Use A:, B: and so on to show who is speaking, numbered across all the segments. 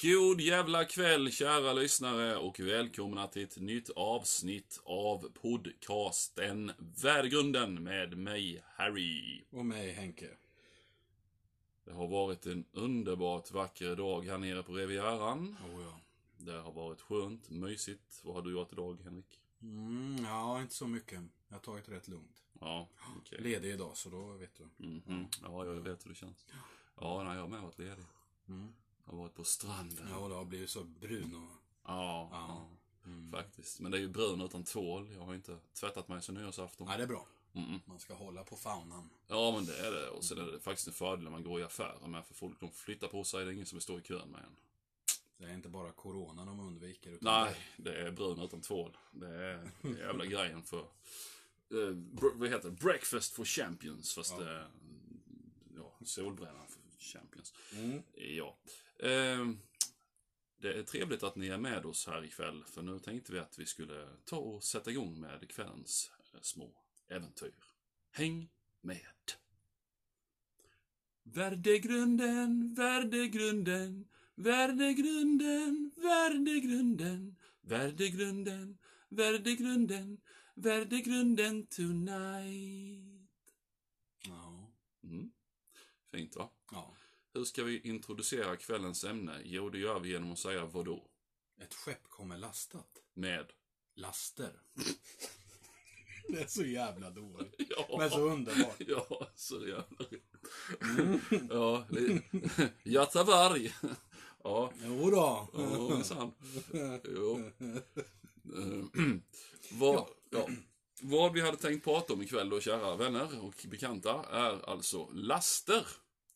A: God jävla kväll kära lyssnare och välkomna till ett nytt avsnitt av podcasten Värdgrunden med mig Harry.
B: Och mig Henke.
A: Det har varit en underbart vacker dag här nere på Rivieran.
B: Oh, ja.
A: Det har varit skönt, mysigt. Vad har du gjort idag Henrik?
B: Mm, ja, inte så mycket. Jag har tagit det rätt lugnt.
A: Ja, okej.
B: Ledig idag, så då vet du.
A: Mhm. Ja, jag vet hur det känns. Ja, nej, jag har med varit ledig. Jag har varit på stranden.
B: Ja, och det har blivit så brun och... Mm.
A: Ja, ja. faktiskt. Men det är ju brun utan tvål. Jag har inte tvättat mig sedan nyårsafton.
B: Nej, det är bra. Man ska hålla på faunan.
A: Ja, men det är det. Och sen är det faktiskt en fördel när man går i affärer med, för folk de flyttar på sig. Det är ingen som vill stå i kön med en.
B: Det är inte bara corona de undviker. Utan
A: Nej, det är brun utan tvål. Det är den jävla grejen för... Eh, br- vad heter det? Breakfast for Champions, fast ja. Eh, ja, solbrännan för Champions.
B: Mm.
A: Ja. Eh, det är trevligt att ni är med oss här ikväll, för nu tänkte vi att vi skulle ta och sätta igång med kvällens eh, små äventyr. Häng med! Värdegrunden, värdegrunden, värdegrunden, värdegrunden, värdegrunden, värdegrunden, värdegrunden tonight.
B: Ja.
A: Mm. Fint va?
B: ja.
A: Hur ska vi introducera kvällens ämne? Jo, det gör vi genom att säga vadå?
B: Ett skepp kommer lastat.
A: Med.
B: Laster. det är så jävla dåligt.
A: Ja.
B: Men så underbart.
A: Ja, så jävla roligt. Ja, li- Götaberg. Ja,
B: Jo då.
A: ja, minsann. Jo. Eh, Vad, ja. Vad vi hade tänkt prata om ikväll då, kära vänner och bekanta, är alltså laster.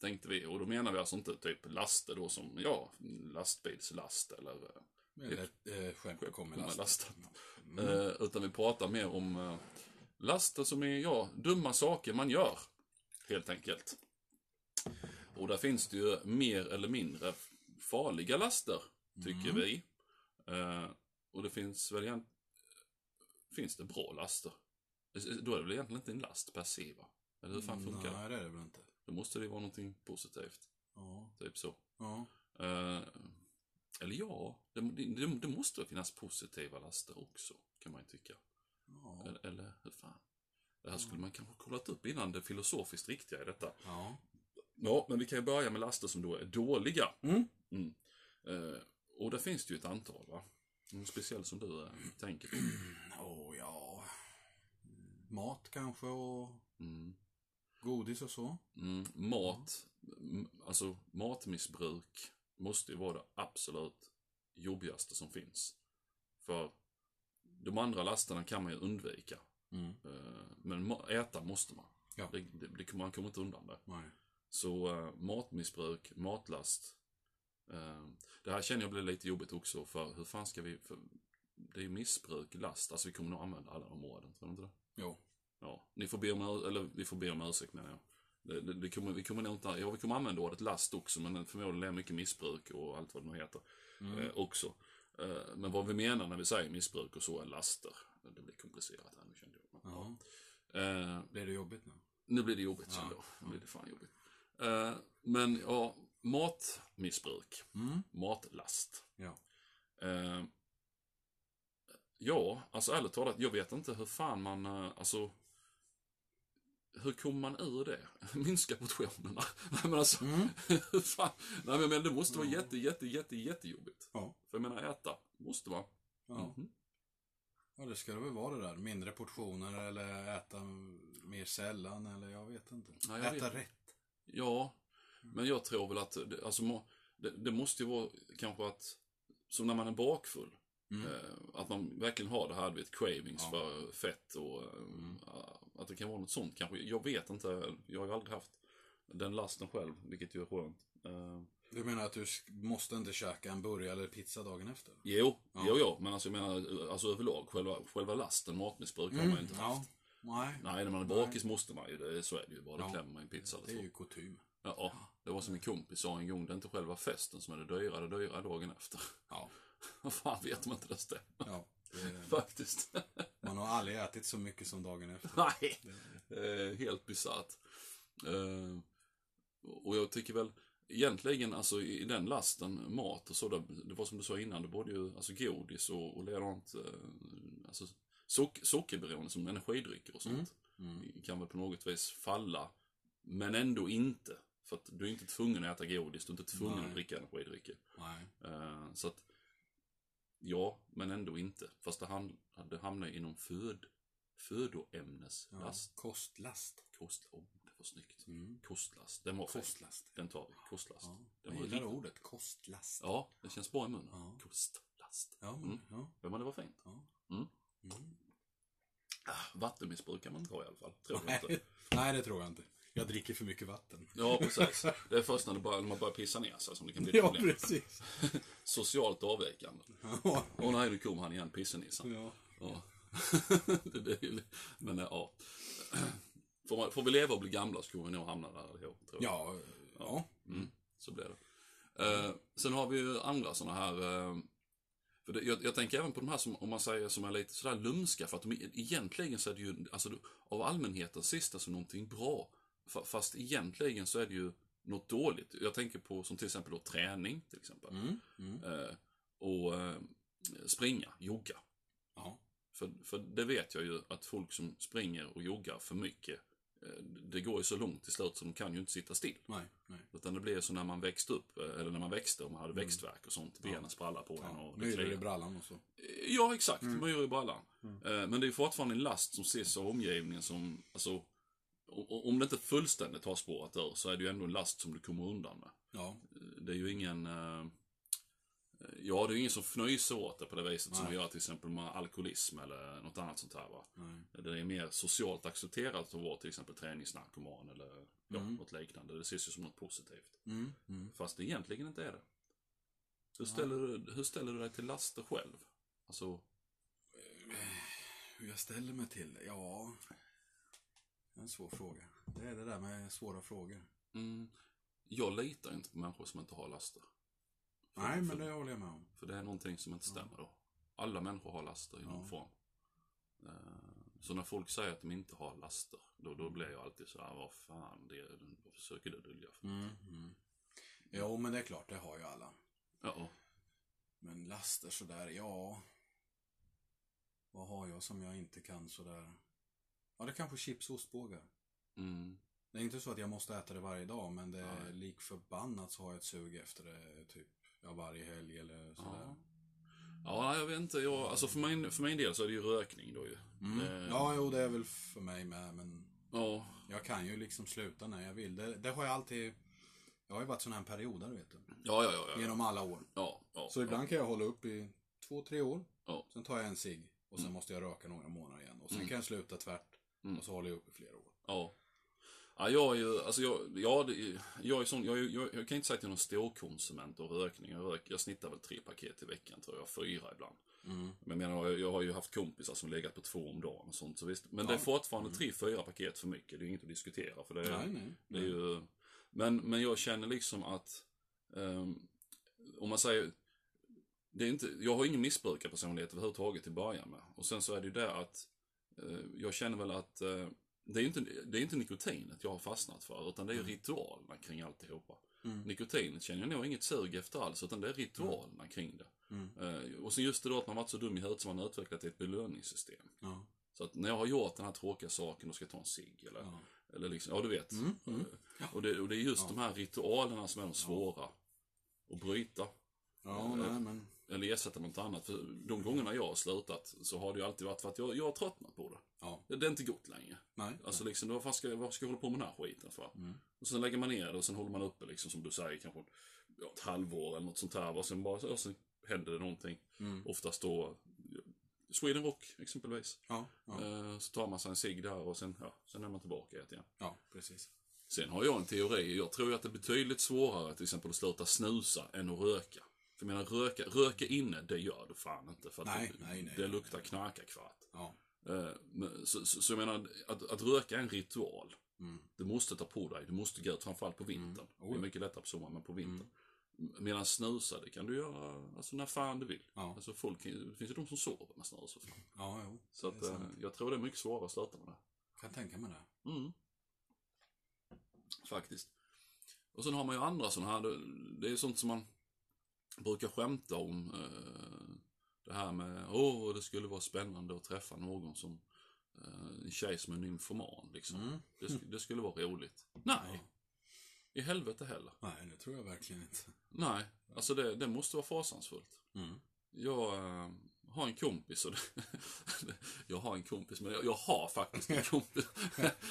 A: Tänkte vi, och då menar vi alltså inte typ laster då som, ja, lastbilslast eller eh,
B: Eller ett eh, skepp kommer
A: kommer
B: lastat. Mm.
A: lastat. Eh, utan vi pratar mer om eh, laster som är, ja, dumma saker man gör. Helt enkelt. Och där finns det ju mer eller mindre farliga laster,
B: Mm.
A: tycker vi. Eh, och det finns väl egentligen... Finns det bra laster? Eh, Då är det väl egentligen inte en last per se, va? Eller hur fan funkar det?
B: Nej, det är det väl inte.
A: Då måste det ju vara någonting positivt.
B: Ja.
A: Typ så.
B: Ja.
A: Eh, eller ja, det, det, det måste väl finnas positiva laster också, kan man ju tycka.
B: Ja.
A: Eller, eller hur fan? Det här
B: Mm.
A: skulle man kanske ha kollat upp innan det filosofiskt riktiga i detta.
B: Ja.
A: Ja, men vi kan ju börja med laster som då är dåliga.
B: Mm.
A: Mm. Eh, och där finns det ju ett antal, va? Någon speciell som du eh, tänker på?
B: Åh, ja. Mat kanske och
A: Mm.
B: godis och så.
A: Mm. Mat, m- alltså matmissbruk måste ju vara det absolut jobbigaste som finns. För de andra lasterna kan man ju undvika.
B: Mm.
A: Eh, Men ma- äta måste man.
B: Ja.
A: Det, det, det, man kommer inte undan det.
B: Nej.
A: Så eh, matmissbruk, matlast. Eh, det här känner jag blir lite jobbigt också för hur fan ska vi... För det är ju missbruk, last. Alltså vi kommer nog använda alla de orden, tror du inte det?
B: Jo.
A: Ja, ni får be om, ur- eller vi får be om ursäkt menar jag. Det, det, det kommer, vi kommer nog inte, ja, vi kommer använda ordet last också men förmodligen är det mycket missbruk och allt vad det nu heter
B: Mm.
A: eh, också. Eh, men vad vi menar när vi säger missbruk och så är laster. Det blir komplicerat här nu kände jag. Men,
B: Ja.
A: ja. eh,
B: Blir det jobbigt nu?
A: nu blir det jobbigt kände jag. Nu blir det fan jobbigt. Eh, men ja, matmissbruk.
B: Mm.
A: Matlast.
B: Ja.
A: Eh, ja, alltså ärligt talat, jag vet inte hur fan man, eh, alltså hur kommer man ur det? Minska portionerna? Nej men alltså,
B: Mm.
A: hur fan? Nej men jag menar, det måste vara jätte, jätte, jätte, jättejobbigt.
B: Ja.
A: För jag menar äta, måste vara.
B: Ja.
A: Mhm.
B: ja, det ska det väl vara det där. Mindre portioner eller äta mer sällan eller jag vet inte.
A: Ja, jag
B: äta
A: vet.
B: rätt.
A: Ja,
B: Mm.
A: men jag tror väl att det, alltså, må- det, det måste ju vara kanske att, som när man är bakfull, eh, att man verkligen har det här, du vet, cravings
B: Mm. Ja. Mm.
A: för fett och eh, att det kan vara något sånt kanske. Jag vet inte, jag har ju aldrig haft den lasten själv, vilket ju är skönt. Eh,
B: Du menar att du sk- måste inte käka en burgare eller pizza dagen efter?
A: jo, jo, jo, men alltså jag menar alltså överlag, själva, själva lasten, matmissbruk har man ju inte
B: Mm, Ja.
A: haft.
B: Nej.
A: Nej, när man är bakis måste man ju, det, så är det ju bara, då
B: Ja.
A: klämmer man en pizza eller
B: Det
A: så.
B: är ju kutym.
A: Ja, det var som min kompis sa en gång, det är inte själva festen som är det dyra, det dyra är dagen efter.
B: Ja.
A: Vad fan vet man inte det stämmer?
B: ja. Det-
A: Faktiskt.
B: Man har aldrig ätit så mycket som dagen efter.
A: Nej, eh, helt bisarrt. Eh, och jag tycker väl, egentligen alltså i den lasten mat och så, där, det var som du sa innan, det var ju alltså godis och, och ledant, eh, alltså sock, sockerberoende som energidrycker och sånt. Kan väl på något vis falla, men ändå inte. För att du är inte tvungen att äta godis, du är inte tvungen
B: Nej.
A: att dricka energidrycker.
B: Nej.
A: Eh, så att, ja, men ändå inte. Fast det, ham- det hamnar ju inom föd,
B: Ja.
A: födoämneslast.
B: Kostlast.
A: Kost, oh, det var snyggt.
B: Mm.
A: Kostlast, den var fin.
B: Kostlast.
A: Den tar vi, kostlast.
B: Ja.
A: Den
B: Jag
A: var
B: gillar
A: riktigt-
B: ordet kostlast.
A: Ja, det känns bra i munnen.
B: Ja.
A: Kostlast.
B: Ja, men,
A: Mm.
B: ja.
A: Ja, men det var fint.
B: Ja.
A: Mm.
B: Mm.
A: Ah, vattenmissbruk kan man inte ha i alla fall. Tror jag inte.
B: Nej. Nej, det tror jag inte. Jag dricker för mycket vatten.
A: Ja, precis. Det är först när, det börjar, när man börjar pissa ner sig som det kan bli
B: Ja,
A: problem.
B: precis.
A: Socialt avvikande.
B: Ja.
A: Åh nej, nu kom han igen, pissenissen.
B: Ja.
A: Ja. det, det är ju, men eh, ja. Får, man, får vi leva och bli gamla så kommer vi nog hamna där allihop, tror jag.
B: Ja. ja.
A: Mm, så blir det. Eh, sen har vi ju andra sådana här... eh, för det, jag, jag tänker även på de här som, om man säger, som är lite sådär lumska. För att de, e- egentligen så är det ju, alltså du- av allmänheten sista som någonting bra. Fa- Fast egentligen så är det ju något dåligt. Jag tänker på som till exempel då träning till exempel.
B: Mm. Mm.
A: Eh, och eh, springa, jogga.
B: Ja.
A: För, för det vet jag ju att folk som springer och joggar för mycket, eh, det går ju så långt till slut så de kan ju inte sitta still.
B: Nej, nej.
A: Utan det blev så när man växte upp, eh, eller när man växte och man hade växtverk och sånt. Benen sprallade på en
B: Mm. Ja.
A: och det
B: Myror i
A: kliade.
B: brallan Mm. och så.
A: Ja, exakt. Myror i brallan. Eh, Men det är fortfarande en last som ses av omgivningen som, alltså, o- o- om det inte fullständigt har spårat ur så är det ju ändå en last som du kommer undan med.
B: Ja.
A: Det är ju ingen, eh, ja det är ju ingen som fnyser åt det på det viset som vi gör till exempel med alkoholism eller något annat sånt här va.
B: Nej.
A: Det är mer socialt accepterat att vara till exempel träningsnarkoman eller ja,
B: Mm.
A: något liknande. Det ses ju som något positivt.
B: Mm. Mm.
A: Fast det egentligen inte är det. Hur ställer, du, hur ställer du dig till laster själv? Alltså,
B: Hur jag ställer mig till det? Ja. Det är en svår fråga. Det är det där med svåra frågor.
A: mm, jag litar inte på människor som inte har laster. För,
B: Nej,
A: för,
B: men det håller jag med om.
A: för det är någonting som inte stämmer då. Alla människor har laster i någon form. Eh, Så när folk säger att de inte har laster, då, då blir jag alltid så här, vad fan, det, vad försöker du dölja? för?"
B: Mm. Mm. Jo, men det är klart, det har ju alla.
A: Ja, ja.
B: Men laster sådär, ja. Vad har jag som jag inte kan sådär? Ja, det är kanske chips och ostbågar.
A: Mm.
B: Det är inte så att jag måste äta det varje dag, men det är
A: Nej.
B: lik förbannat så har jag ett sug efter det typ ja, varje helg eller sådär.
A: Ja, nej, jag vet inte. Jag, alltså för, min, för min del så är det ju rökning då ju.
B: Mm.
A: Eh,
B: Ja, jo, det är väl för mig med, men
A: ja.
B: jag kan ju liksom sluta när jag vill. Det, det har jag alltid... Jag har ju varit sån här perioder, vet du.
A: Ja, ja, ja. ja.
B: Genom alla år.
A: ja, ja
B: Så
A: ja.
B: ibland kan jag hålla upp i två, tre år.
A: Ja. Mm.
B: Sen tar jag en cigg och sen måste jag röka några månader igen. Och sen kan jag sluta tvärt. Och så håller jag upp i flera år.
A: Ja. Ja, jag är ju, alltså jag, ja, det, jag är sån, jag, är- jag, jag kan inte säga att jag är någon storkonsument av rökning. Jag, rök, jag snittar väl tre paket i veckan tror jag, fyra ibland.
B: Mm.
A: Men jag menar, jag, jag har ju haft kompisar som legat på två om dagen och sånt. Så visst, men det är fortfarande tre, fyra paket för mycket. Det är inget att diskutera. För det, är-
B: Mm. Nej, nej.
A: det är ju, men, men jag känner liksom att, ehm, om man säger, det är inte, jag har ingen missbrukarpersonlighet överhuvudtaget till att börja med. Och sen så är det ju det att, eh, jag känner väl att eh, det är ju inte, det är inte nikotinet jag har fastnat för, utan det är ju ritualerna kring alltihopa. Nikotinet känner jag nog inget sug efter alls, utan det är ritualerna kring det. Eh, och sen just det då att man varit så dum i huvudet så man har utvecklat ett belöningssystem.
B: Ja.
A: Så att när jag har gjort den här tråkiga saken, då ska jag ta en cigg eller, eller liksom, ja du vet.
B: Mm.
A: Eh, Och, det, och det är just de här ritualerna som är de svåra att bryta.
B: Ja, nej men.
A: Eller ersätta med något annat. För de gångerna jag har slutat så har det ju alltid varit för att jag, jag har tröttnat på det.
B: Ja.
A: Det, det är inte gott längre.
B: Nej. Mm.
A: Alltså liksom, då, vad, fan ska, jag- vad ska jag hålla på med den här skiten för? Och sen lägger man ner det och sen håller man uppe liksom som du säger kanske ja, ett halvår eller något sånt här. Och sen bara, ja, sen händer det någonting.
B: Mm.
A: Oftast då ja, Sweden Rock exempelvis.
B: Ja, ja,
A: Eh, Så tar man sig en cigg där och sen, ja, sen är man tillbaka i det igen.
B: ja, precis.
A: Sen har jag en teori. Jag tror ju att det är betydligt svårare till exempel att sluta snusa än att röka. För jag menar, röka, röka inne, det gör du fan inte. För att
B: Nej,
A: det,
B: nej, nej,
A: det
B: nej,
A: luktar knarkarkvart.
B: Ja.
A: Eh, men- Så, så, så jag menar, att, att röka är en ritual.
B: Mm.
A: Du måste ta på dig, du måste gå ut, framförallt på vintern. Det är mycket lättare på sommaren, men på
B: Mm.
A: vintern. Medan snusa, det kan du göra alltså, när fan du vill.
B: Ja.
A: Alltså, folk, det finns ju de som sover med snus och fan.
B: Ja, jo.
A: Så att, eh, jag tror det är mycket svårare att sluta med det.
B: Kan tänka mig det.
A: Mm. Faktiskt. Och Och sen har man ju andra sådana här, det, det är sånt som man brukar skämta om. Eh, det här med, åh, det skulle vara spännande att träffa någon som, eh, en tjej som är nymfoman liksom.
B: Mm.
A: Det, sk- det skulle vara roligt. Nej, i helvete heller.
B: Nej, det tror jag verkligen inte.
A: Nej, alltså det, det måste vara fasansfullt.
B: Mm.
A: Jag eh, har en kompis och det, Jag har en kompis, men jag, jag har faktiskt en kompis.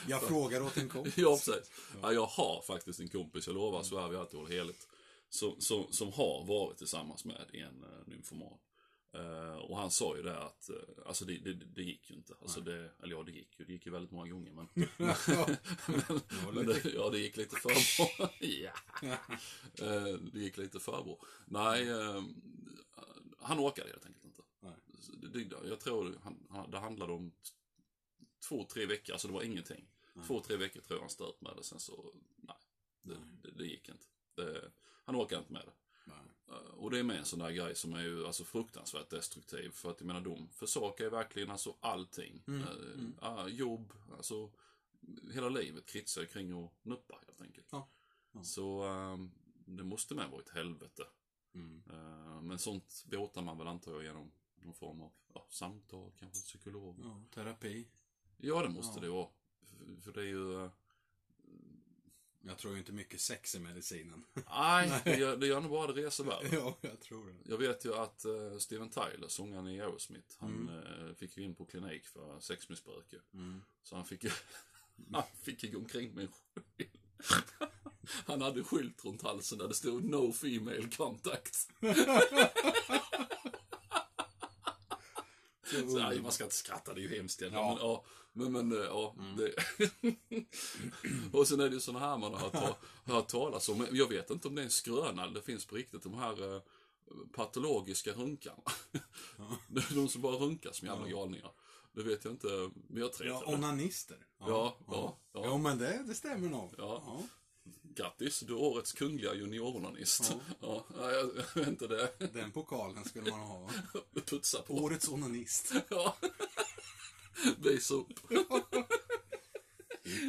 B: Jag frågar åt en kompis.
A: ja, precis. Ja, jag har faktiskt en kompis, jag lovar, svär vi alltid håller heligt. Som, som, som har varit tillsammans med en uh, nymfoman. Eh, och han sa ju det att, eh, alltså det, det, det gick ju inte. Alltså det, eller ja, det gick ju. Det gick ju väldigt många gånger, men... men,
B: var
A: men det, ja, det gick lite för bra. ja. Eh, det gick lite för bra. Nej, eh, han orkade helt enkelt inte.
B: Nej.
A: Så Det, det, jag tror han, han, det handlade om t- två, tre veckor, alltså det var ingenting. Två, tre veckor tror jag han stört med det, sen så, nej. Det, det, det gick inte. Det, han orkade inte med det.
B: Nej.
A: Eh, Och det är med en sån där grej som är ju alltså fruktansvärt destruktiv. För att jag menar, de försakar ju verkligen alltså allting.
B: Mm,
A: Eh, ah, jobb, alltså hela livet kretsar ju kring att nuppa helt enkelt.
B: Ja. Ja.
A: Så eh, det måste med vara ett helvete.
B: Mm.
A: Eh, men sånt båtar man väl antar jag genom någon form av ja, samtal, kanske psykolog. Ja,
B: Ja, terapi.
A: det måste
B: Ja.
A: det vara. För- För det är ju... eh,
B: Jag tror ju inte mycket sex i medicinen.
A: Nej, det gör, det gör nog bara det reser värre.
B: ja, jag tror det.
A: Jag vet ju att eh, Steven Tyler, sångaren i Aerosmith, han eh, fick ju in på klinik för sexmissbruk ju.
B: Mm.
A: Så han fick ju, han fick ju gå omkring med en skylt. Han hade en skylt runt halsen där det stod No Female Contact. Så, nej, man ska inte skratta, det är ju hemskt. Mm. Ja. Men, ja, men, men, eh, ja, det... Och sen är det ju sådana här man har hört, ta- hört talas om. Jag vet inte om det är en skröna, eller det finns på riktigt de här eh, patologiska runkarna. Det är de som bara runkar som jävla galningar. Det vet jag inte, men jag tror
B: Ja,
A: inte det.
B: onanister.
A: Ja, ja, ja.
B: Jo, men det, det stämmer nog.
A: Ja. Grattis, du är årets kungliga junioronanist. Ja. nej, jag- jag vet inte det.
B: Den pokalen skulle man ha.
A: Putsa på.
B: Årets onanist.
A: Ja. Visa upp.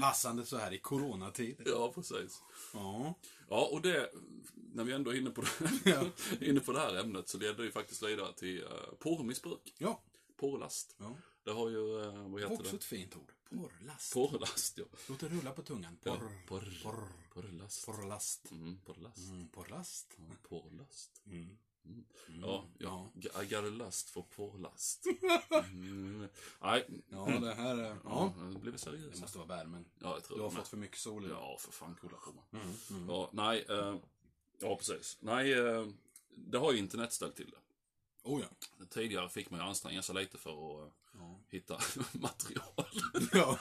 B: Passande så här i coronatider.
A: Ja, precis.
B: Ja.
A: Ja, och det, när vi ändå är inne på det, inne på det här ämnet så leder det ju faktiskt vidare till uh, porrmissbruk.
B: Ja.
A: Porrlast.
B: ja.
A: Det har ju, eh, vad heter
B: Också
A: det?
B: ett fint ord. Porrlast.
A: Porrlast, ja.
B: Låt det rulla på tungan. Porr.
A: Porr.
B: Porr.
A: Porrlast.
B: Porrlast.
A: Mm, porrlast.
B: Mm, porrlast.
A: Porrlast.
B: Mm.
A: Ja, ja. I got a lust for porrlast. Mm. Nej,
B: Ja, det här är... Ja.
A: nu blir vi
B: Det
A: seriösa.
B: måste vara värmen.
A: Ja, jag tror
B: Du har
A: det med.
B: fått för mycket sol Mm, idag.
A: Ja, för fan, kolla på mig. Ja, nej, eh, ja precis. Nej, eh, det har ju internet ställt till det.
B: Oh ja.
A: Tidigare fick man ju anstränga sig lite för att eh,
B: Ja.
A: hitta material.
B: ja.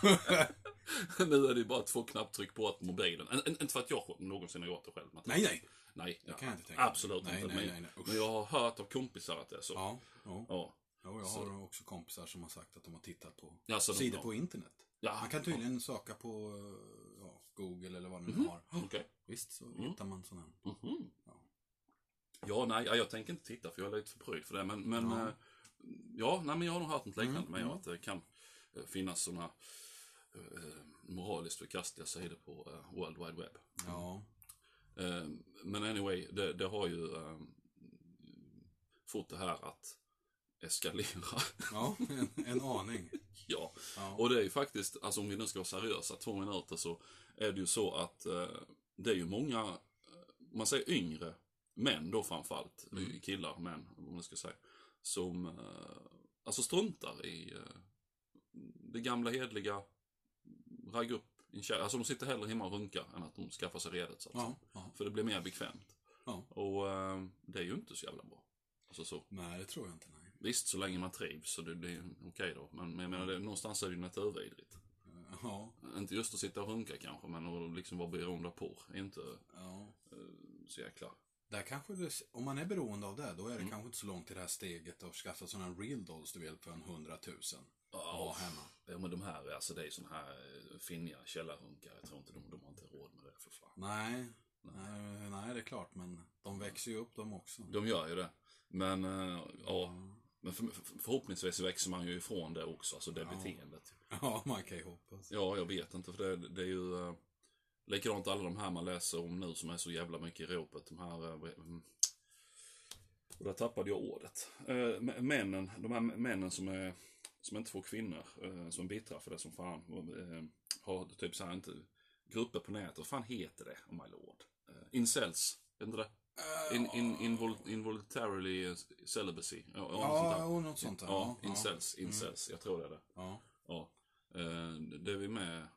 A: nu är det ju bara två knapptryck på att mobilen. En- en- Inte för att jag någonsin har gjort det själv. men-
B: nej, nej.
A: nej.
B: kan jag inte tänka mig.
A: Absolut
B: Nej,
A: inte.
B: nej,
A: men,
B: nej, nej. Usch.
A: men jag har hört av kompisar att det är så.
B: Ja. ja.
A: Ja.
B: Jo, jag har också kompisar som har sagt att de har tittat på
A: Alltså, de-
B: sidor
A: ja.
B: på internet.
A: Ja,
B: Man kan tydligen söka på eh, ja, Google eller vad man
A: Mhm.
B: nu har.
A: Okej.
B: Visst så
A: Mm.
B: hittar man sådana. här.
A: Mhm. Ja, nej, ja, jag tänker inte titta för jag är lite för pryd för det. Men, men ja, ja nej, men jag har nog hört något liknande
B: Mm,
A: med att det kan eh, finnas sådana eh, moraliskt förkastliga sidor på eh, World Wide Web.
B: Ja.
A: Eh, men anyway, det, det har ju eh, fått det här att eskalera.
B: Ja, en, en aning.
A: ja.
B: Ja.
A: och det är ju faktiskt, alltså om vi nu ska vara seriösa två minuter så är det ju så att eh, det är ju många, eh, man säger yngre, män då framförallt, det är ju killar, män, om man ska säga, som eh, alltså struntar i eh, det gamla hedliga, ragga upp en tjej, alltså de sitter hellre hemma och runkar än att de skaffar sig redet så att
B: Ja.
A: säga.
B: ja.
A: För det blir mer bekvämt.
B: Ja.
A: Och eh, det är ju inte så jävla bra. Alltså så.
B: Nej, det tror jag inte. Nej.
A: Visst, så länge man trivs så det, det är okej då. Men, men jag menar, det, någonstans är det ju naturvidrigt.
B: Ja.
A: Inte just att sitta och runka kanske, men att liksom vara beroende av porr är inte
B: ja.
A: så jäkla...
B: Där kanske det, om man är beroende av det, då är det
A: Mm.
B: kanske inte så långt till det här steget att skaffa sådana real dolls du vill för en hundratusen. Ja, hemma.
A: Ja, men de här, är- alltså det är ju sådana här eh, finniga källarrunkare. Jag tror inte de, de har inte råd med det för fan.
B: Nej. Nej, nej, det är klart, men de växer ju upp de också.
A: De gör ju det. Men, eh, ja. Men för, för, förhoppningsvis växer man ju ifrån det också, alltså det beteendet.
B: Ja, man kan ju hoppas.
A: Ja, jag vet inte, för det, det är ju... eh, Likadant alla de här man läser om nu som är så jävla mycket i ropet. De här... eh, mm, Och där tappade jag ordet. Eh, m- Männen, de här männen som är som inte får kvinnor, eh, som är bittra för det som fan. och, eh, Har typ så här inte grupper på nätet. Vad fan heter det? Oh my lord. Eh, Incels, är inte det?
B: Eh,
A: In, in, invol, involuntarily eh, celibacy. Ja, ja, något sånt
B: Ja,
A: där.
B: och något sånt där.
A: Ja, incels, incels. Jag tror det är det.
B: Ja.
A: Ja. Eh, Det är vi med.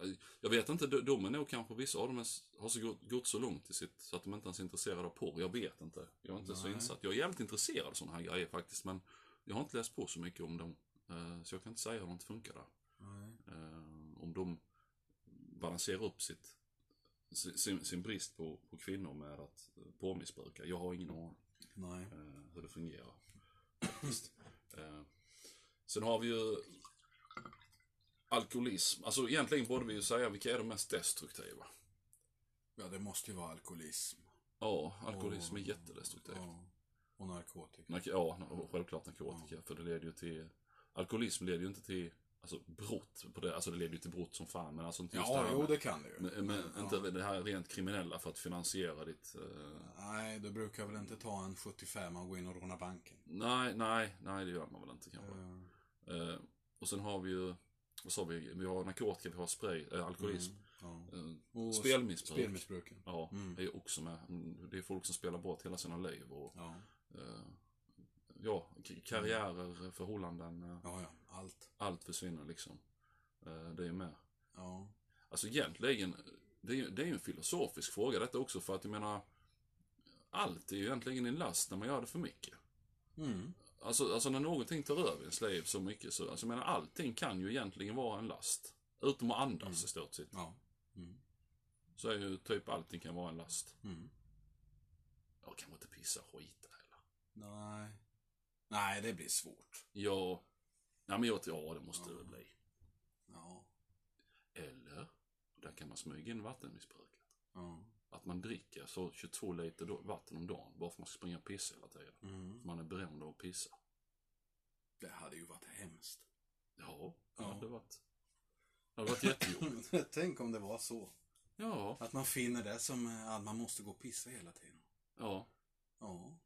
A: Jag- Jag vet inte, de- de är nog kanske vissa av dem är s- har så gått, gått så långt i sitt så att de inte ens är intresserade av porr. Jag vet inte. Jag är inte så
B: Nej.
A: insatt. Jag är jävligt intresserad av sådana här grejer faktiskt men jag har inte läst på så mycket om dem. Eh, Så jag kan inte säga hur det inte funkar där.
B: Nej.
A: Eh, Om de balanserar upp sitt, si- sin, sin brist på, på kvinnor med att eh, porrmissbruka. Jag har ingen aning
B: Nej.
A: eh, hur det fungerar. Faktiskt. Eh, sen har vi ju alkoholism. Alltså egentligen borde vi ju säga vilka är de mest destruktiva.
B: Ja, det måste ju vara alkoholism.
A: Ja, alkoholism är
B: Och-
A: jättedestruktivt.
B: Ja. Och narkotika.
A: Nark- ja, och självklart narkotika. För det leder ju till... Alkoholism leder ju inte till alltså, brott. På det. Alltså det leder ju till brott som fan. Men alltså inte just det
B: Ja,
A: här
B: jo
A: med,
B: det kan det ju.
A: men, men inte det här rent kriminella för att finansiera ditt... Eh,
B: Nej, du brukar väl inte ta en 75 och gå in och råna banken?
A: nej, nej, nej det gör man väl inte kanske.
B: Eh,
A: Eh, och sen har vi ju, vad sa vi, vi har narkotika, vi har spray, eh, alkoholism.
B: mm, ja.
A: Eh,
B: Och
A: spelmissbruk.
B: Spelmissbruken.
A: ja, är ju också med. Mm, Det är folk som spelar bort hela sina liv och
B: Ja.
A: eh, ja, k- karriärer, förhållanden, eh,
B: ja, ja. Allt.
A: allt försvinner liksom. Eh, det är ju med.
B: Ja.
A: Alltså egentligen, det är ju det är ju en filosofisk fråga detta också för att jag menar, allt är ju egentligen en last när man gör det för mycket.
B: Mm.
A: Alltså, alltså när någonting tar över ens liv så mycket så, alltså jag menar allting kan ju egentligen vara en last. Utom att andas i stort sett.
B: Ja.
A: Så är ju typ allting kan vara en last.
B: Mm.
A: Jag kan inte pissa och skita heller.
B: Nej. Nej, det blir svårt.
A: Ja, nej men jag ja det måste det bli.
B: Ja.
A: Eller, där kan man smyga in vattenmissbruket.
B: Ja.
A: Att man dricker så 22 liter då- vatten om dagen bara för att man ska springa och pissa hela tiden.
B: Mm.
A: Man är beroende av att pissa.
B: Det hade ju varit hemskt.
A: Ja, det
B: Ja.
A: hade varit... Det hade varit jättejobbigt.
B: Tänk om det var så.
A: Ja,
B: Att man finner det som eh, att man måste gå och pissa hela tiden.
A: ja.
B: Ja.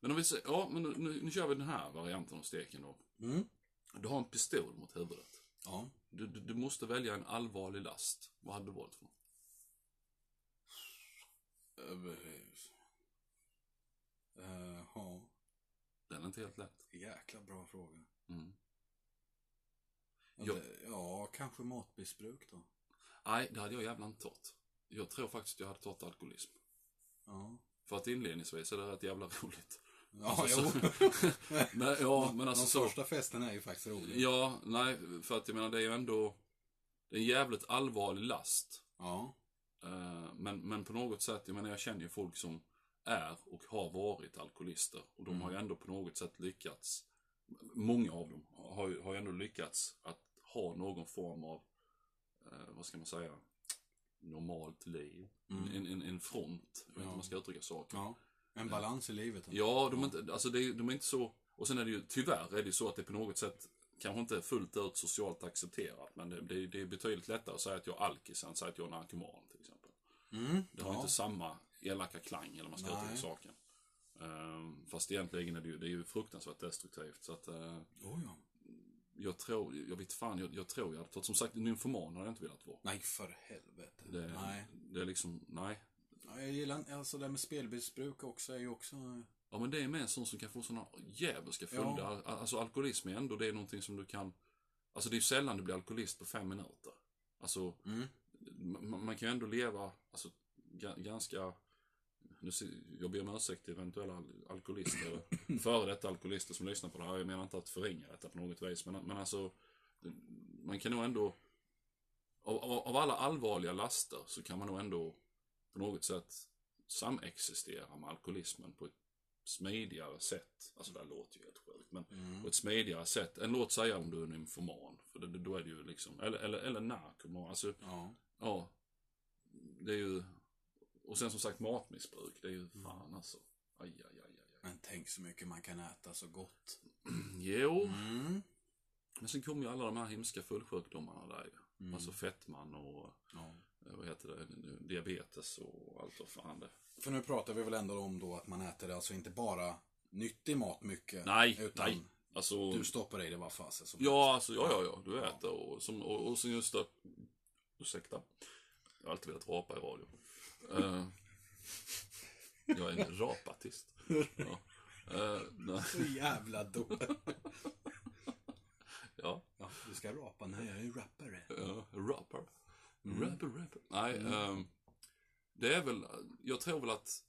A: Men om vi säger, ja men nu, nu, nu kör vi den här varianten av steken då.
B: Mm.
A: Du har en pistol mot huvudet.
B: Ja.
A: Du, du, du måste välja en allvarlig last. Vad hade du valt för något?
B: Eh, ja.
A: Den är inte helt lätt.
B: Jäkla bra fråga.
A: Mm.
B: Ja,
A: Ja.
B: det- ja, kanske matmissbruk då.
A: Nej, det hade jag jävla inte tagit. Jag tror faktiskt att jag hade tagit alkoholism.
B: Ja.
A: För att inledningsvis är det rätt jävla roligt.
B: Ja,
A: Alltså,
B: jo.
A: nej, ja, men alltså
B: De
A: så.
B: första festerna är ju faktiskt roliga.
A: Ja, nej, för att jag menar det är ju ändå det är en jävligt allvarlig last.
B: Ja.
A: Eh, Men, men på något sätt, jag menar jag känner ju folk som är och har varit alkoholister. Och de har ju ändå på något sätt lyckats, många av dem har ju har ju ändå lyckats att ha någon form av, eh, vad ska man säga, normalt liv. En, en, en front, jag vet inte hur man ska uttrycka saker.
B: ja. En balans i livet.
A: Ja, de är inte, alltså det är, de är inte så... Och sen är det ju, tyvärr är det ju så att det på något sätt kanske inte är fullt ut socialt accepterat. Men det, det, är- det är betydligt lättare att säga att jag är alkis än att säga att jag är narkoman till exempel.
B: Mm.
A: Det har inte samma elaka klang eller vad man ska
B: Nej.
A: uttrycka saken. Ehm, fast egentligen är det ju, det är ju fruktansvärt destruktivt. Så att, eh,
B: Oh, ja.
A: jag tror, jag vet fan, jag, jag tror jag hade tagit, som sagt, nymfoman hade jag inte velat vara.
B: Nej, för helvete.
A: Det,
B: Nej.
A: det är liksom, nej.
B: Ja, Jag gillar inte- alltså det här med spelmissbruk också är ju också... eh,
A: Ja men det är med en sån som kan få såna djävulska följder.
B: Ja.
A: Al- Alltså alkoholism är ändå, det är någonting som du kan... Alltså det är ju sällan du blir alkoholist på fem minuter. Alltså,
B: Mm.
A: man, man kan ju ändå leva, alltså ga- ganska... Nu, se- jag ber om ursäkt till eventuella al- alkoholister, eller före detta alkoholister som lyssnar på det här. Jag menar inte att förringa detta på något vis, men, men alltså... Man kan nog ändå... Av, av, av alla allvarliga laster så kan man nog ändå på något sätt samexistera med alkoholismen på ett smidigare sätt. Alltså det här låter ju helt sjukt, men
B: Mm.
A: på ett smidigare sätt än låt säga om du är nymfoman. För det, då är det ju liksom, eller, eller, eller narkoman. Alltså,
B: Ja.
A: ja. Det är ju, och sen som sagt matmissbruk, det är ju
B: Mm.
A: fan alltså. Aj, aj, aj, aj. aj.
B: Men tänk så mycket man kan äta så gott.
A: Jo,
B: Mm. Mm.
A: men sen kommer ju alla de här hemska följdsjukdomarna där ju. Alltså fettman och
B: Ja.
A: eh, vad heter det, nu, diabetes och allt vad fan det
B: För nu pratar vi väl ändå om då att man äter alltså inte bara nyttig mat mycket.
A: Nej,
B: utan
A: nej. Alltså,
B: du stoppar i det vad fasen som
A: ja, alltså, ja, ja, ja, du äter och, som, och, och sen just det, ursäkta, jag har alltid velat rapa i radio. Eh, jag är en rapatist. Ja. Eh, nej,
B: helst. Så jävla dum.
A: ja.
B: ja, du ska rapa. Nej, jag är ju rappare.
A: Ja, rapper. Rapper, rapper. Nej, ehm, det är väl, jag tror väl att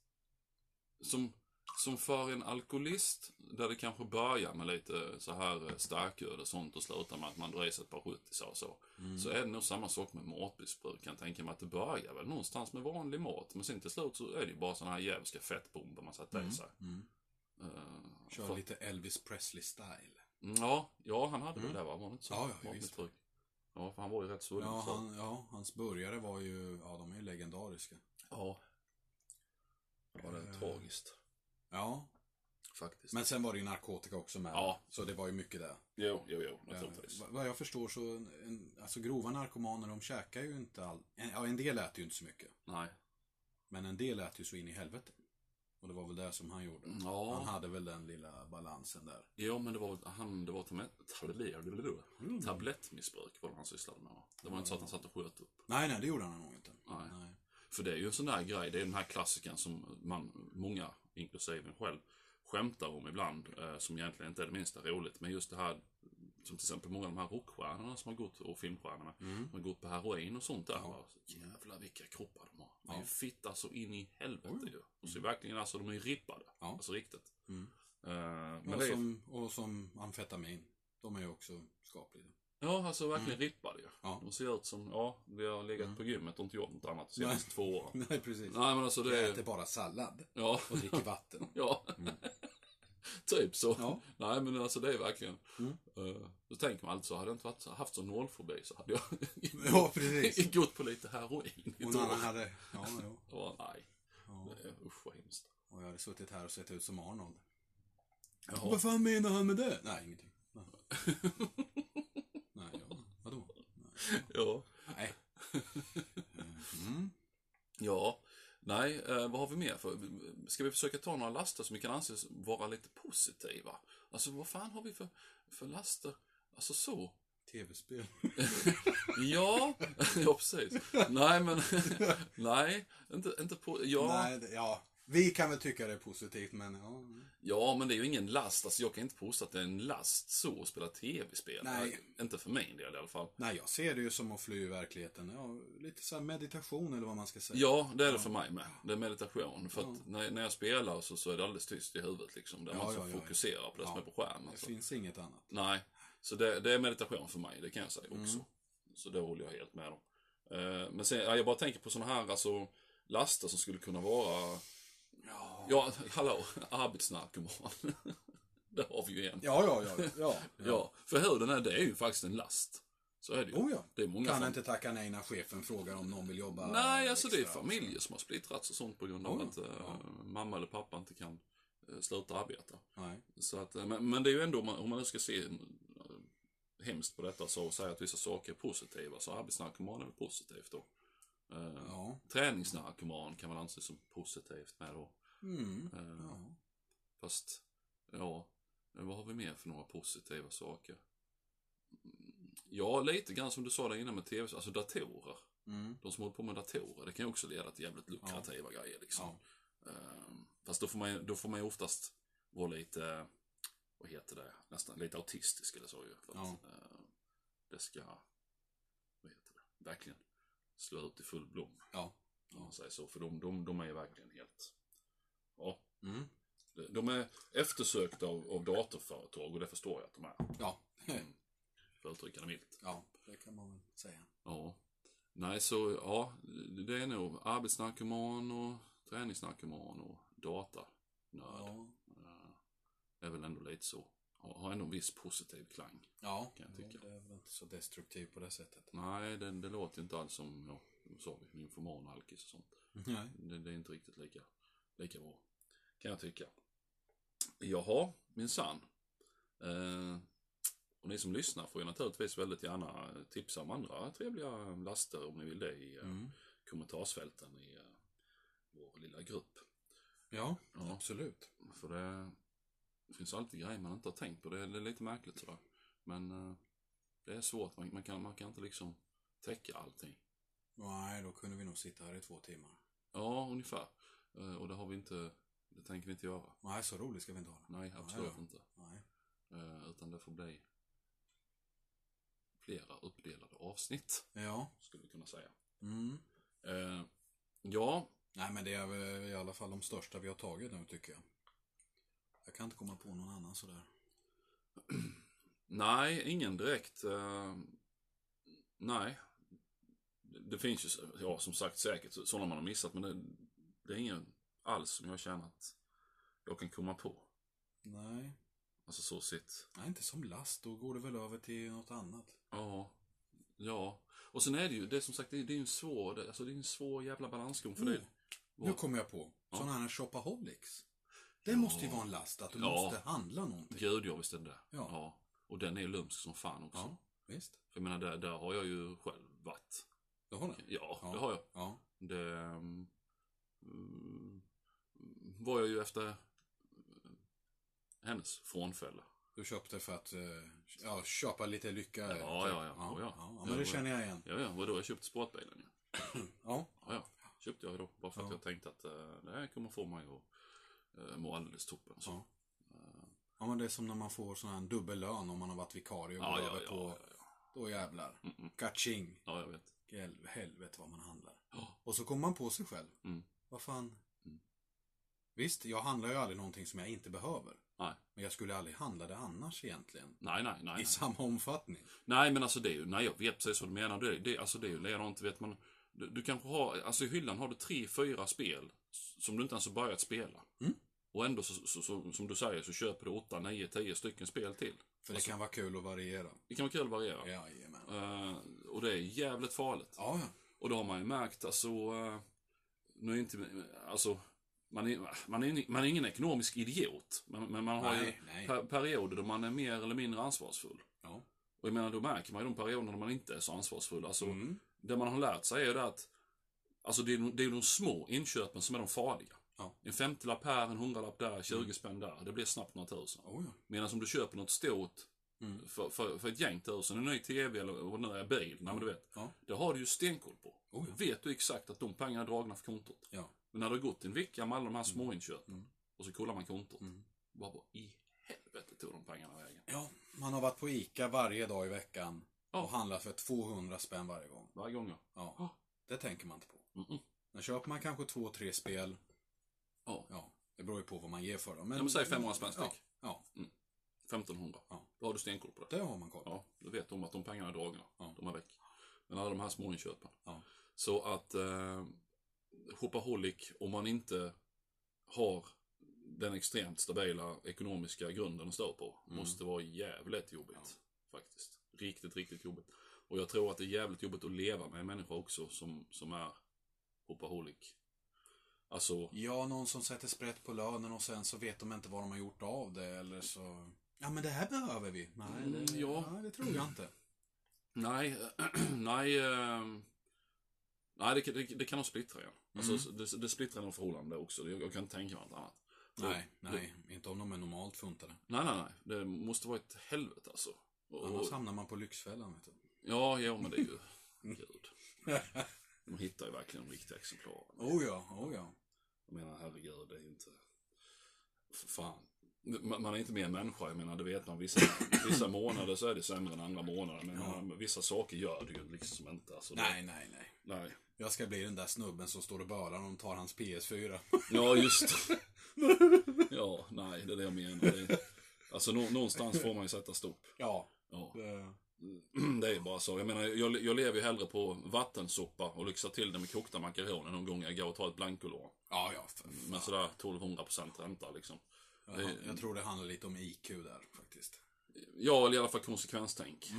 A: som, som för en alkoholist, där det kanske börjar med lite så här eh, starköl och sånt och slutar med att man drar i sig ett par 70 så och så. Så
B: Mm.
A: är det nog samma sak med matmissbruk, kan jag tänka mig att det börjar väl någonstans med vanlig mat. Men sen till slut så är det ju bara såna här djävulska fettbomber man sätter i sig. Eh,
B: Mm. Kör
A: för- Mm,
B: lite Elvis Presley style.
A: Ja, ja, han hade väl det va? Var det inte så?
B: Mm. Ja, ja, visst.
A: matmissbruk. Ja, för han var ju rätt svullen.
B: Ja,
A: så.
B: han, ja, hans burgare var ju, ja de är ju legendariska.
A: Ja. Ja, det är tragiskt.
B: Ja,
A: Faktiskt.
B: Eh. men sen var det ju narkotika också med.
A: Ja.
B: Så det var ju mycket det.
A: Jo, jo, jo,
B: Eh,
A: naturligtvis.
B: vad- Vad jag förstår så, en, alltså grova narkomaner de käkar ju inte all, en, ja en del äter ju inte så mycket.
A: Nej.
B: Men en del äter ju så in i helvete. Och det var väl det som han gjorde.
A: Mm, Ja.
B: Han hade väl den lilla balansen där.
A: Jo, men det var han, det var tablettmissbruk. Tablettmissbruk var det han sysslade med. va? Det var inte så att han satt och sköt upp.
B: Nej, nej, det gjorde han nog inte.
A: Nej. För det är ju en sån där grej, det är den här klassiken som man, många, inklusive en själv, skämtar om ibland, eh, som egentligen inte är det minsta roligt. Men just det här, som till exempel många av de här rockstjärnorna som har gått, och filmstjärnorna, som har gått på heroin och sånt där. va. Jävlar vilka kroppar de har. De är ju fitta så in i helvete ju. Och så är verkligen, alltså de är ju rippade.
B: Ja. Mm.
A: Alltså riktigt. Eh, men
B: Och,
A: det är,
B: som, och som amfetamin. De är ju också skapliga.
A: Ja, alltså verkligen rippade ju.
B: Mm. Ja. Mm.
A: De ser ut som, ja, vi har legat på gymmet och inte gjort något annat de senaste två åren.
B: Nej, precis.
A: Nej men alltså det
B: Jag
A: är...
B: äter bara sallad
A: Ja.
B: och dricker vatten.
A: Ja. typ så.
B: Mm. Ja. Mm.
A: Nej men alltså det är verkligen. Eh, då tänker man alltså, hade jag inte varit, så- haft sån nålfobi så hade jag
B: Ja, precis.
A: gått på lite heroin i
B: Och
A: ett
B: en
A: år.
B: annan hade, ja, jo.
A: Ja, nej.
B: Ja.
A: Det är- Usch vad hemskt.
B: Och jag hade suttit här och sett ut som Arnold.
A: Jaha.
B: Vad fan menar han med det? Nej, ingenting. Nej, Nej ja. vadå?
A: Ja.
B: Nej.
A: Mm. Ja. Nej, eh, vad har vi mer för? Ska vi försöka ta några laster som vi kan anses vara lite positiva? Alltså vad fan har vi för, för laster? Alltså så.
B: Tv-spel.
A: Ja, ja precis. Nej men, nej, inte, inte på, ja.
B: Nej, det- ja. Vi kan väl tycka det är positivt, men ja.
A: Ja, men det är ju ingen last. Alltså, jag kan inte påstå att det är en last så att spela tv-spel. Eh,
B: Nej.
A: Inte för min del i alla fall.
B: Nej, jag ser det ju som att fly i verkligheten. Ja, lite så här meditation eller vad man ska säga.
A: Ja, det är det för mig med. Det är meditation. För att när, när jag spelar så, så är det alldeles tyst i huvudet liksom. Där
B: Ja,
A: man
B: ja,
A: så
B: ja, ja.
A: fokuserar på det som är på skärmen.
B: Det
A: Så.
B: finns inget annat.
A: Nej, så det, det är meditation för mig, det kan jag säga också.
B: Mm.
A: Så det håller jag helt med om. Eh, men sen, ja, jag bara tänker på sådana här alltså, laster som skulle kunna vara... Ja, hallå, arbetsnarkoman. Där har vi ju en.
B: Ja, ja, ja. ja.
A: Ja, för huden är, det är ju faktiskt en last. Så är det ju.
B: Oh, ja.
A: Det är många
B: Kan
A: fam-
B: inte tacka nej när chefen frågar om någon vill jobba
A: Nej, alltså det är
B: extra.
A: familjer som har splittrats och sånt på grund av
B: Oh, ja.
A: att eh, mamma eller pappa inte kan eh, sluta arbeta.
B: Nej.
A: Så att, eh, men, men det är ju ändå, om man, om man nu ska se eh, hemskt på detta så och säga att vissa saker är positiva, så arbetsnarkoman är väl positivt då. Eh,
B: Ja.
A: Träningsnarkoman kan man anse som positivt med då.
B: Mm.
A: Eh,
B: ja.
A: Fast, ja, men vad har vi mer för några positiva saker? Mm, Ja, lite grann som du sa där innan med tv, alltså datorer.
B: Mm.
A: De som håller på med datorer, det kan ju också leda till jävligt lukrativa grejer liksom. Ehm, fast då får, man, ju- då får man ju oftast vara lite, vad heter det, nästan lite autistisk eller så ju. För att,
B: Ja.
A: ehm, det ska, vad heter det, verkligen slå ut i full blom.
B: Ja.
A: Om man säger så, för de, de, de är ju verkligen helt, ja,
B: Mm.
A: de är eftersökta av, av datorföretag och det förstår jag att de är.
B: Ja.
A: För att uttrycka det milt.
B: ja, det kan man väl säga.
A: Ja. Nej, så ja, det är nog arbetsnarkoman och träningsnarkoman och datanörd.
B: Ja.
A: Det är väl ändå lite så. Har har ändå en viss positiv klang.
B: Ja,
A: Kan jag tycka.
B: det är väl inte så destruktiv på det sättet.
A: Nej, det, det låter ju inte alls som, ja, vad sa vi, informan och alkis och sånt.
B: Nej.
A: Det, det är inte riktigt lika, lika bra. Kan jag tycka. Jaha, minsann. Eh, och ni som
B: Mm.
A: lyssnar får ju naturligtvis väldigt gärna tipsa om andra trevliga laster om ni vill det i, eh, kommentarsfälten i eh, vår lilla grupp.
B: Ja,
A: Ja.
B: absolut.
A: För det finns alltid grejer man inte har tänkt på. Det är, det är lite märkligt sådär. Men eh, det är svårt. Man, man, kan, man kan inte liksom täcka allting.
B: Nej, då kunde vi nog sitta här i två timmar.
A: Ja, ungefär. Eh, och det har vi inte, det tänker vi inte göra.
B: Nej, så roligt ska vi inte ha det.
A: Nej, absolut
B: då.
A: inte.
B: Nej.
A: Eh, utan det får bli flera uppdelade avsnitt,
B: Ja.
A: skulle vi kunna säga.
B: Mm.
A: Eh, ja,
B: Nej, men det är väl i alla fall de största vi har tagit nu tycker jag. Jag kan inte komma på någon annan sådär.
A: nej, ingen direkt. Eh, nej. Det det finns ju, så- ja som sagt säkert så- sådana man har missat, men det, det är ingen alls som jag känner att jag kan komma på.
B: Nej.
A: Alltså så sitt.
B: Nej, inte som last. Då går det väl över till något annat.
A: Ja. Ja. Och sen är det ju, det är som sagt, det är, det är ju en svår, det, alltså det är en svår jävla balansgång för
B: Mm.
A: det.
B: Nu kommer jag på.
A: Ja.
B: Sådana här shopaholics. Det måste ju vara en last, att du
A: Ja.
B: måste handla någonting.
A: Gud ja, visst är det det.
B: Ja.
A: Och den är ju lömsk som fan också.
B: Ja, visst.
A: För jag menar, där, där har jag ju själv varit.
B: Du har det?
A: Ja,
B: Ja.
A: det har jag.
B: Ja.
A: Det mm, mm, var jag ju efter mm, hennes frånfälle.
B: Du köpte för att eh, ja, köpa lite lycka. eh,
A: ja, ja.
B: ja,
A: Ja, ja.
B: ja. men det känner jag igen.
A: Ja, ja, vadå, jag köpte sportbilen ju.
B: Ja.
A: Ja, ja. Köpte jag ju då. Bara för att
B: Ja.
A: jag tänkte att eh, det här kommer få mig att eh, må alldeles toppen. Så.
B: Ja. ja, men det är som när man får sån här dubbel lön om man har varit vikarie och går
A: Ja, ja,
B: över
A: ja,
B: på...
A: ja, ja.
B: Då jävlar.
A: Mm, mm.
B: Kaching.
A: Ja, jag vet.
B: Hel- Helvete vad man handlar.
A: Ja.
B: Och så kommer man på sig själv.
A: Mm.
B: Vad fan.
A: Mm.
B: Visst, jag handlar ju aldrig någonting som jag inte behöver.
A: Nej.
B: Men jag skulle aldrig handla det annars egentligen.
A: Nej, nej, nej.
B: I samma omfattning.
A: Nej, men alltså det är ju, nej jag vet precis vad du menar. Det, det, alltså det är ju ledant, vet man. Du, du kanske har, alltså i hyllan har du tre, fyra spel som du inte ens har börjat spela.
B: Mm.
A: Och ändå, så, så, så, som du säger, så köper du åtta, nio, tio stycken spel till.
B: För
A: Alltså-
B: det kan vara kul att variera.
A: Det kan vara kul att variera.
B: Jajamän.
A: Eh, och det är jävligt farligt.
B: Ja, ja.
A: Och då har man ju märkt, alltså, eh, nu är inte, alltså, man är, man, är, man är ingen ekonomisk idiot. Men, men man har
B: Nej,
A: ju
B: nej.
A: per, perioder då man är mer eller mindre ansvarsfull.
B: Ja.
A: Och jag menar, då märker man ju de perioderna när man inte är så ansvarsfull. Alltså,
B: Mm.
A: det man har lärt sig är ju det att Alltså det är, de- det är de små inköpen som är de farliga.
B: Ja.
A: En 50-lapp här, en 100-lapp där, 20 spänn där. Det blir snabbt några tusen.
B: Oh, ja.
A: Medan om du köper något stort
B: Mm.
A: för, för, för ett gäng tusen, en ny TV eller vad det nu är, bil, nej, men du vet.
B: Ja.
A: Det har du ju stenkoll på.
B: Oh, ja.
A: Vet du exakt att de pengarna är dragna för kontot.
B: Ja.
A: Men när du har gått en vecka med alla de här småinköpen
B: Mm.
A: och så kollar man kontot.
B: Mm.
A: Bara vad i helvete tog de pengarna vägen?
B: ja. Man har varit på ICA varje dag i veckan.
A: Ja.
B: Och handlat för 200 spänn varje gång.
A: Varje gång ja.
B: Ja.
A: Ja.
B: Det tänker man inte på.
A: Mm-mm.
B: Då köper man kanske två, tre spel.
A: Ja.
B: Ja. Det beror ju på vad man ger för dem.
A: Ja, men säg 500 spänn
B: Ja.
A: styck.
B: ja.
A: 1500.
B: Ja.
A: Då har du stenkoll på det.
B: Det har man koll på.
A: Ja, då vet de att de pengarna är dragna.
B: Ja.
A: De är väck. Men alla de här små inköpen.
B: Ja.
A: Så att eh, shopaholic, om man inte har den extremt stabila ekonomiska grunden att stå på,
B: Mm.
A: måste vara jävligt jobbigt. Faktiskt. Riktigt, riktigt jobbigt. Och jag tror att det är jävligt jobbigt att leva med en människa också som, som är shopaholic. Alltså,
B: Ja, någon som sätter sprätt på lönen och sen så vet de inte vad de har gjort av det eller så... Ja, men det här behöver vi. Nej,
A: Mm,
B: det,
A: ja.
B: nej, det tror jag inte.
A: Nej, nej, ehm, nej det, kan- det, det kan nog splittra igen. Alltså,
B: Mm.
A: det, det splittrar nog förhållande också. Det- Jag kan inte tänka mig något annat.
B: Nej, nej, inte om de är normalt funtade.
A: Nej, nej, nej. Det måste vara ett helvete alltså. Och,
B: Annars
A: och,
B: hamnar man på Lyxfällan, vet du.
A: ja, ja, men det är ju... Gud. De hittar ju verkligen de riktiga exemplaren.
B: Oh ja, oh ja.
A: Jag menar, herregud, det är ju inte... För fan. Man, man är inte mer än människa, jag menar, det vet man. Vissa, vissa månader så är det sämre än andra månader. Men jag menar, vissa saker gör du ju liksom inte. Alltså, det-
B: Nej, nej, nej.
A: nej.
B: Jag ska bli den där snubben som står och bölar och de tar hans PS4.
A: Ja, just det. Ja, nej, det är det jag menar. Det, alltså nå, någonstans får man ju sätta stopp.
B: ja. Eh,
A: Ja.
B: det-
A: Det är bara så. Jag menar, jag, jag lever ju hellre på vattensoppa och lyxar till det med kokta makaroner någon gång jag går och tar ett blancolån.
B: Ja, ja. för fan.
A: Med sådär 1200% ränta liksom.
B: Ja, Jag tror det handlar lite om IQ där, faktiskt.
A: Ja, eller i alla fall konsekvenstänk.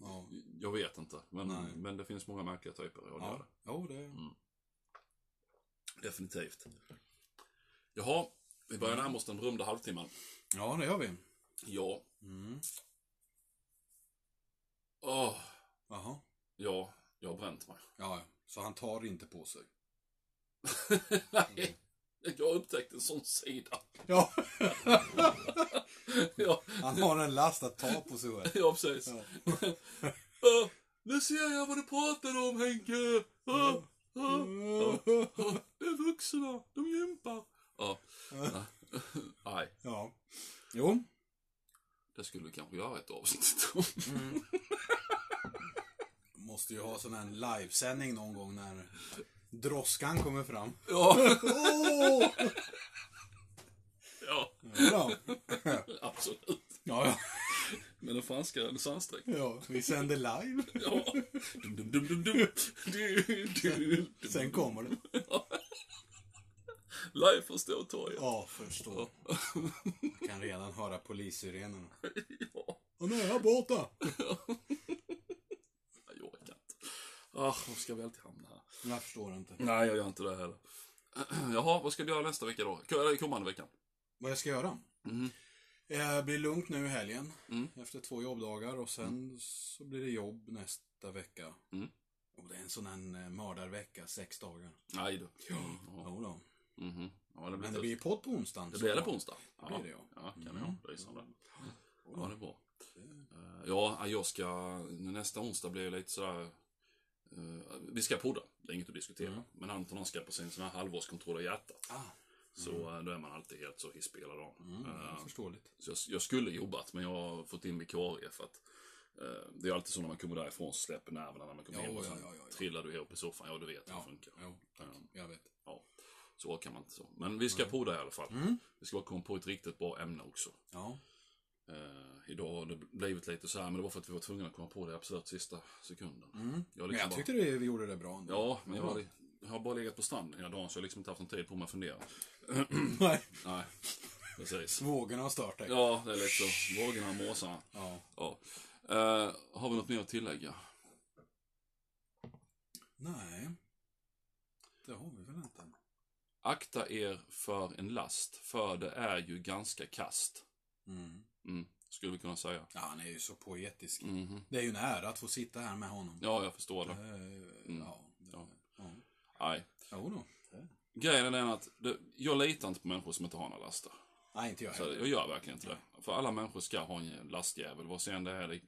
B: Ja,
A: Jag vet inte. Men,
B: Nej.
A: men det finns många märkliga typer. Ja, det gör
B: ja. Jo, det...
A: det. Definitivt. Jaha, vi börjar närma oss den berömda halvtimman.
B: Ja, det gör vi.
A: Ja.
B: Mm.
A: Åh,
B: Jaha.
A: ja, jag har bränt mig.
B: Ja, Så han tar inte på sig.
A: Nej, jag har upptäckt en sån sida.
B: Ja,
A: ja,
B: han har en last att ta på sig själv.
A: ja, precis.
B: Ja.
A: Ja, nu ser jag vad du pratar om Henke. Ja, ja, ja. Det är vuxna, de gympar. Ja. ja. Nej,
B: Ja. Jo.
A: det skulle vi kanske göra ett avsnitt om.
B: Måste ju ha sån här livesändning någon gång när droskan kommer fram.
A: Ja,
B: Åh!
A: ja,
B: Ja,
A: absolut.
B: ja,
A: Med den franska renässansdräkten.
B: ja. Vi sänder live.
A: Ja. Dum, dum, dum, dum, dum. Du, du, du.
B: Sen kommer det.
A: Live från Stortorget.
B: Ja, förstår. Jag kan redan höra polissirenerna.
A: Ja.
B: Och nu är jag borta.
A: Jag orkar inte. Ah, var ska vi alltid hamna här?
B: Jag förstår inte.
A: Nej, jag gör inte det heller. Jaha, vad ska du göra nästa vecka då? K- Eller kommande vecka?
B: Vad jag ska göra?
A: Mm.
B: Det blir lugnt nu i helgen.
A: Mm.
B: Efter två jobbdagar och sen så blir det jobb nästa vecka.
A: Mm.
B: Och det är en sån här eh, mördarvecka, sex dagar.
A: Nej du. Ja.
B: Jo då.
A: Mhm. Ja, det blir
B: Men det
A: tufft.
B: blir podd på onsdagen.
A: Det
B: så-
A: blir det på onsdag?
B: Det blir det, ja.
A: Ja, kan
B: Mm.
A: jag. Lysande. Ja, det är bra. Eh, Ja, jag ska... nu Nästa onsdag blir jag lite sådär... eh, Vi ska podda, det är inget att diskutera.
B: Mm.
A: Men Anton han ska på sin sån här halvårskontroll av hjärtat.
B: Ah,
A: Så eh, då är man alltid helt så hisspelad av.
B: mm, det
A: Eh,
B: är förståeligt.
A: Så jag, jag skulle jobbat men jag har fått in vikarie för att eh, det är alltid så när man kommer därifrån så släpper nerverna när man kommer
B: Ja,
A: hem och
B: ja,
A: sen
B: ja, ja, ja.
A: trillar du ihop i soffan. Ja, du vet hur
B: Ja.
A: det funkar.
B: Jo, tack. Jag vet.
A: Ja, så kan man inte så. Men vi
B: Mm.
A: ska podda i alla fall. Vi ska komma på ett riktigt bra ämne också.
B: Ja.
A: Eh, idag har det blivit lite så här men det var för att vi var tvungna att komma på det i absolut sista sekunden. Jag har
B: mm. Men
A: liksom
B: jag tyckte det, vi gjorde det bra ändå.
A: bara, ja, men jag har, jag har bara legat på stranden hela dagen så jag har liksom inte haft någon tid på mig att fundera.
B: Nej,
A: Nej, precis.
B: vågorna har stört dig.
A: Ja, det är lite så. Vågorna och måsarna.
B: Ja.
A: Ja. Eh, har vi något mer att tillägga?
B: Nej. Det har vi väl inte.
A: Akta er för en last, för det är ju ganska kast.
B: Mm.
A: Mm, skulle vi kunna säga.
B: Ja, han är ju så poetisk.
A: Mhm.
B: Det är ju en ära att få sitta här med honom.
A: Ja, jag förstår
B: Eh,
A: det.
B: Ja. det-
A: Ja.
B: ja.
A: Nej.
B: Jo då.
A: Grejen är den att det, jag litar inte på människor som inte har några laster.
B: Nej, inte jag
A: Så
B: heller.
A: Alltså, jag gör verkligen inte det. För alla människor ska ha en lastjävel. Vad sen det är, det,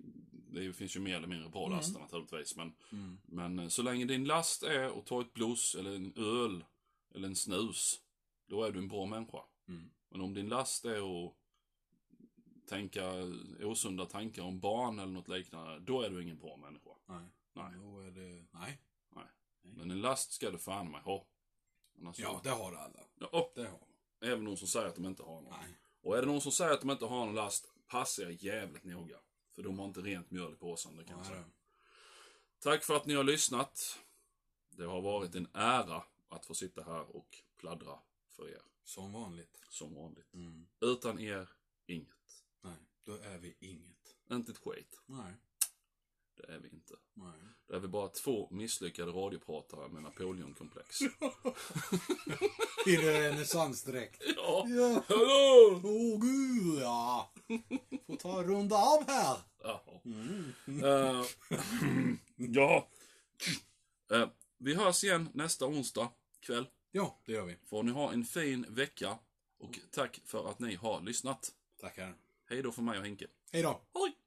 A: det finns ju mer eller mindre bra laster naturligtvis. Men,
B: Mm.
A: men eh, så länge din last är att ta ett bloss eller en öl eller en snus, då är du en bra människa.
B: Mm.
A: Men om din last är att tänka osunda tankar om barn eller något liknande, då är du ingen bra människa.
B: Nej.
A: Nej.
B: Då är det... Nej.
A: Men en last ska du fan mig ha. Annars
B: Ja, det har alla.
A: Ja, och
B: Det har de.
A: även de som säger att de inte har någon.
B: Nej.
A: Och är det någon som säger att de inte har någon last, passa er jävligt noga. För de har inte rent mjöl i påsen, det kan jag
B: Nej.
A: säga. Tack för att ni har lyssnat. Det har varit en ära att få sitta här och pladdra för er,
B: Som vanligt.
A: som vanligt.
B: Mm.
A: Utan er, inget.
B: Nej, då är vi inget.
A: Inte ett skit.
B: Nej.
A: Det är vi inte.
B: Nej.
A: Där är vi bara två misslyckade radiopratare med Napoleonkomplex.
B: I renässansdräkt.
A: ja,
B: Ja.
A: hallå!
B: Åh gud ja. Får ta en runda av här.
A: Jaha. Eh, ja. Eh, vi hörs igen nästa onsdag kväll.
B: Ja, det gör vi.
A: Får ni ha en fin vecka och tack för att ni har lyssnat.
B: Tackar.
A: Hej då för mig och Henke.
B: Hej då.
A: Hej!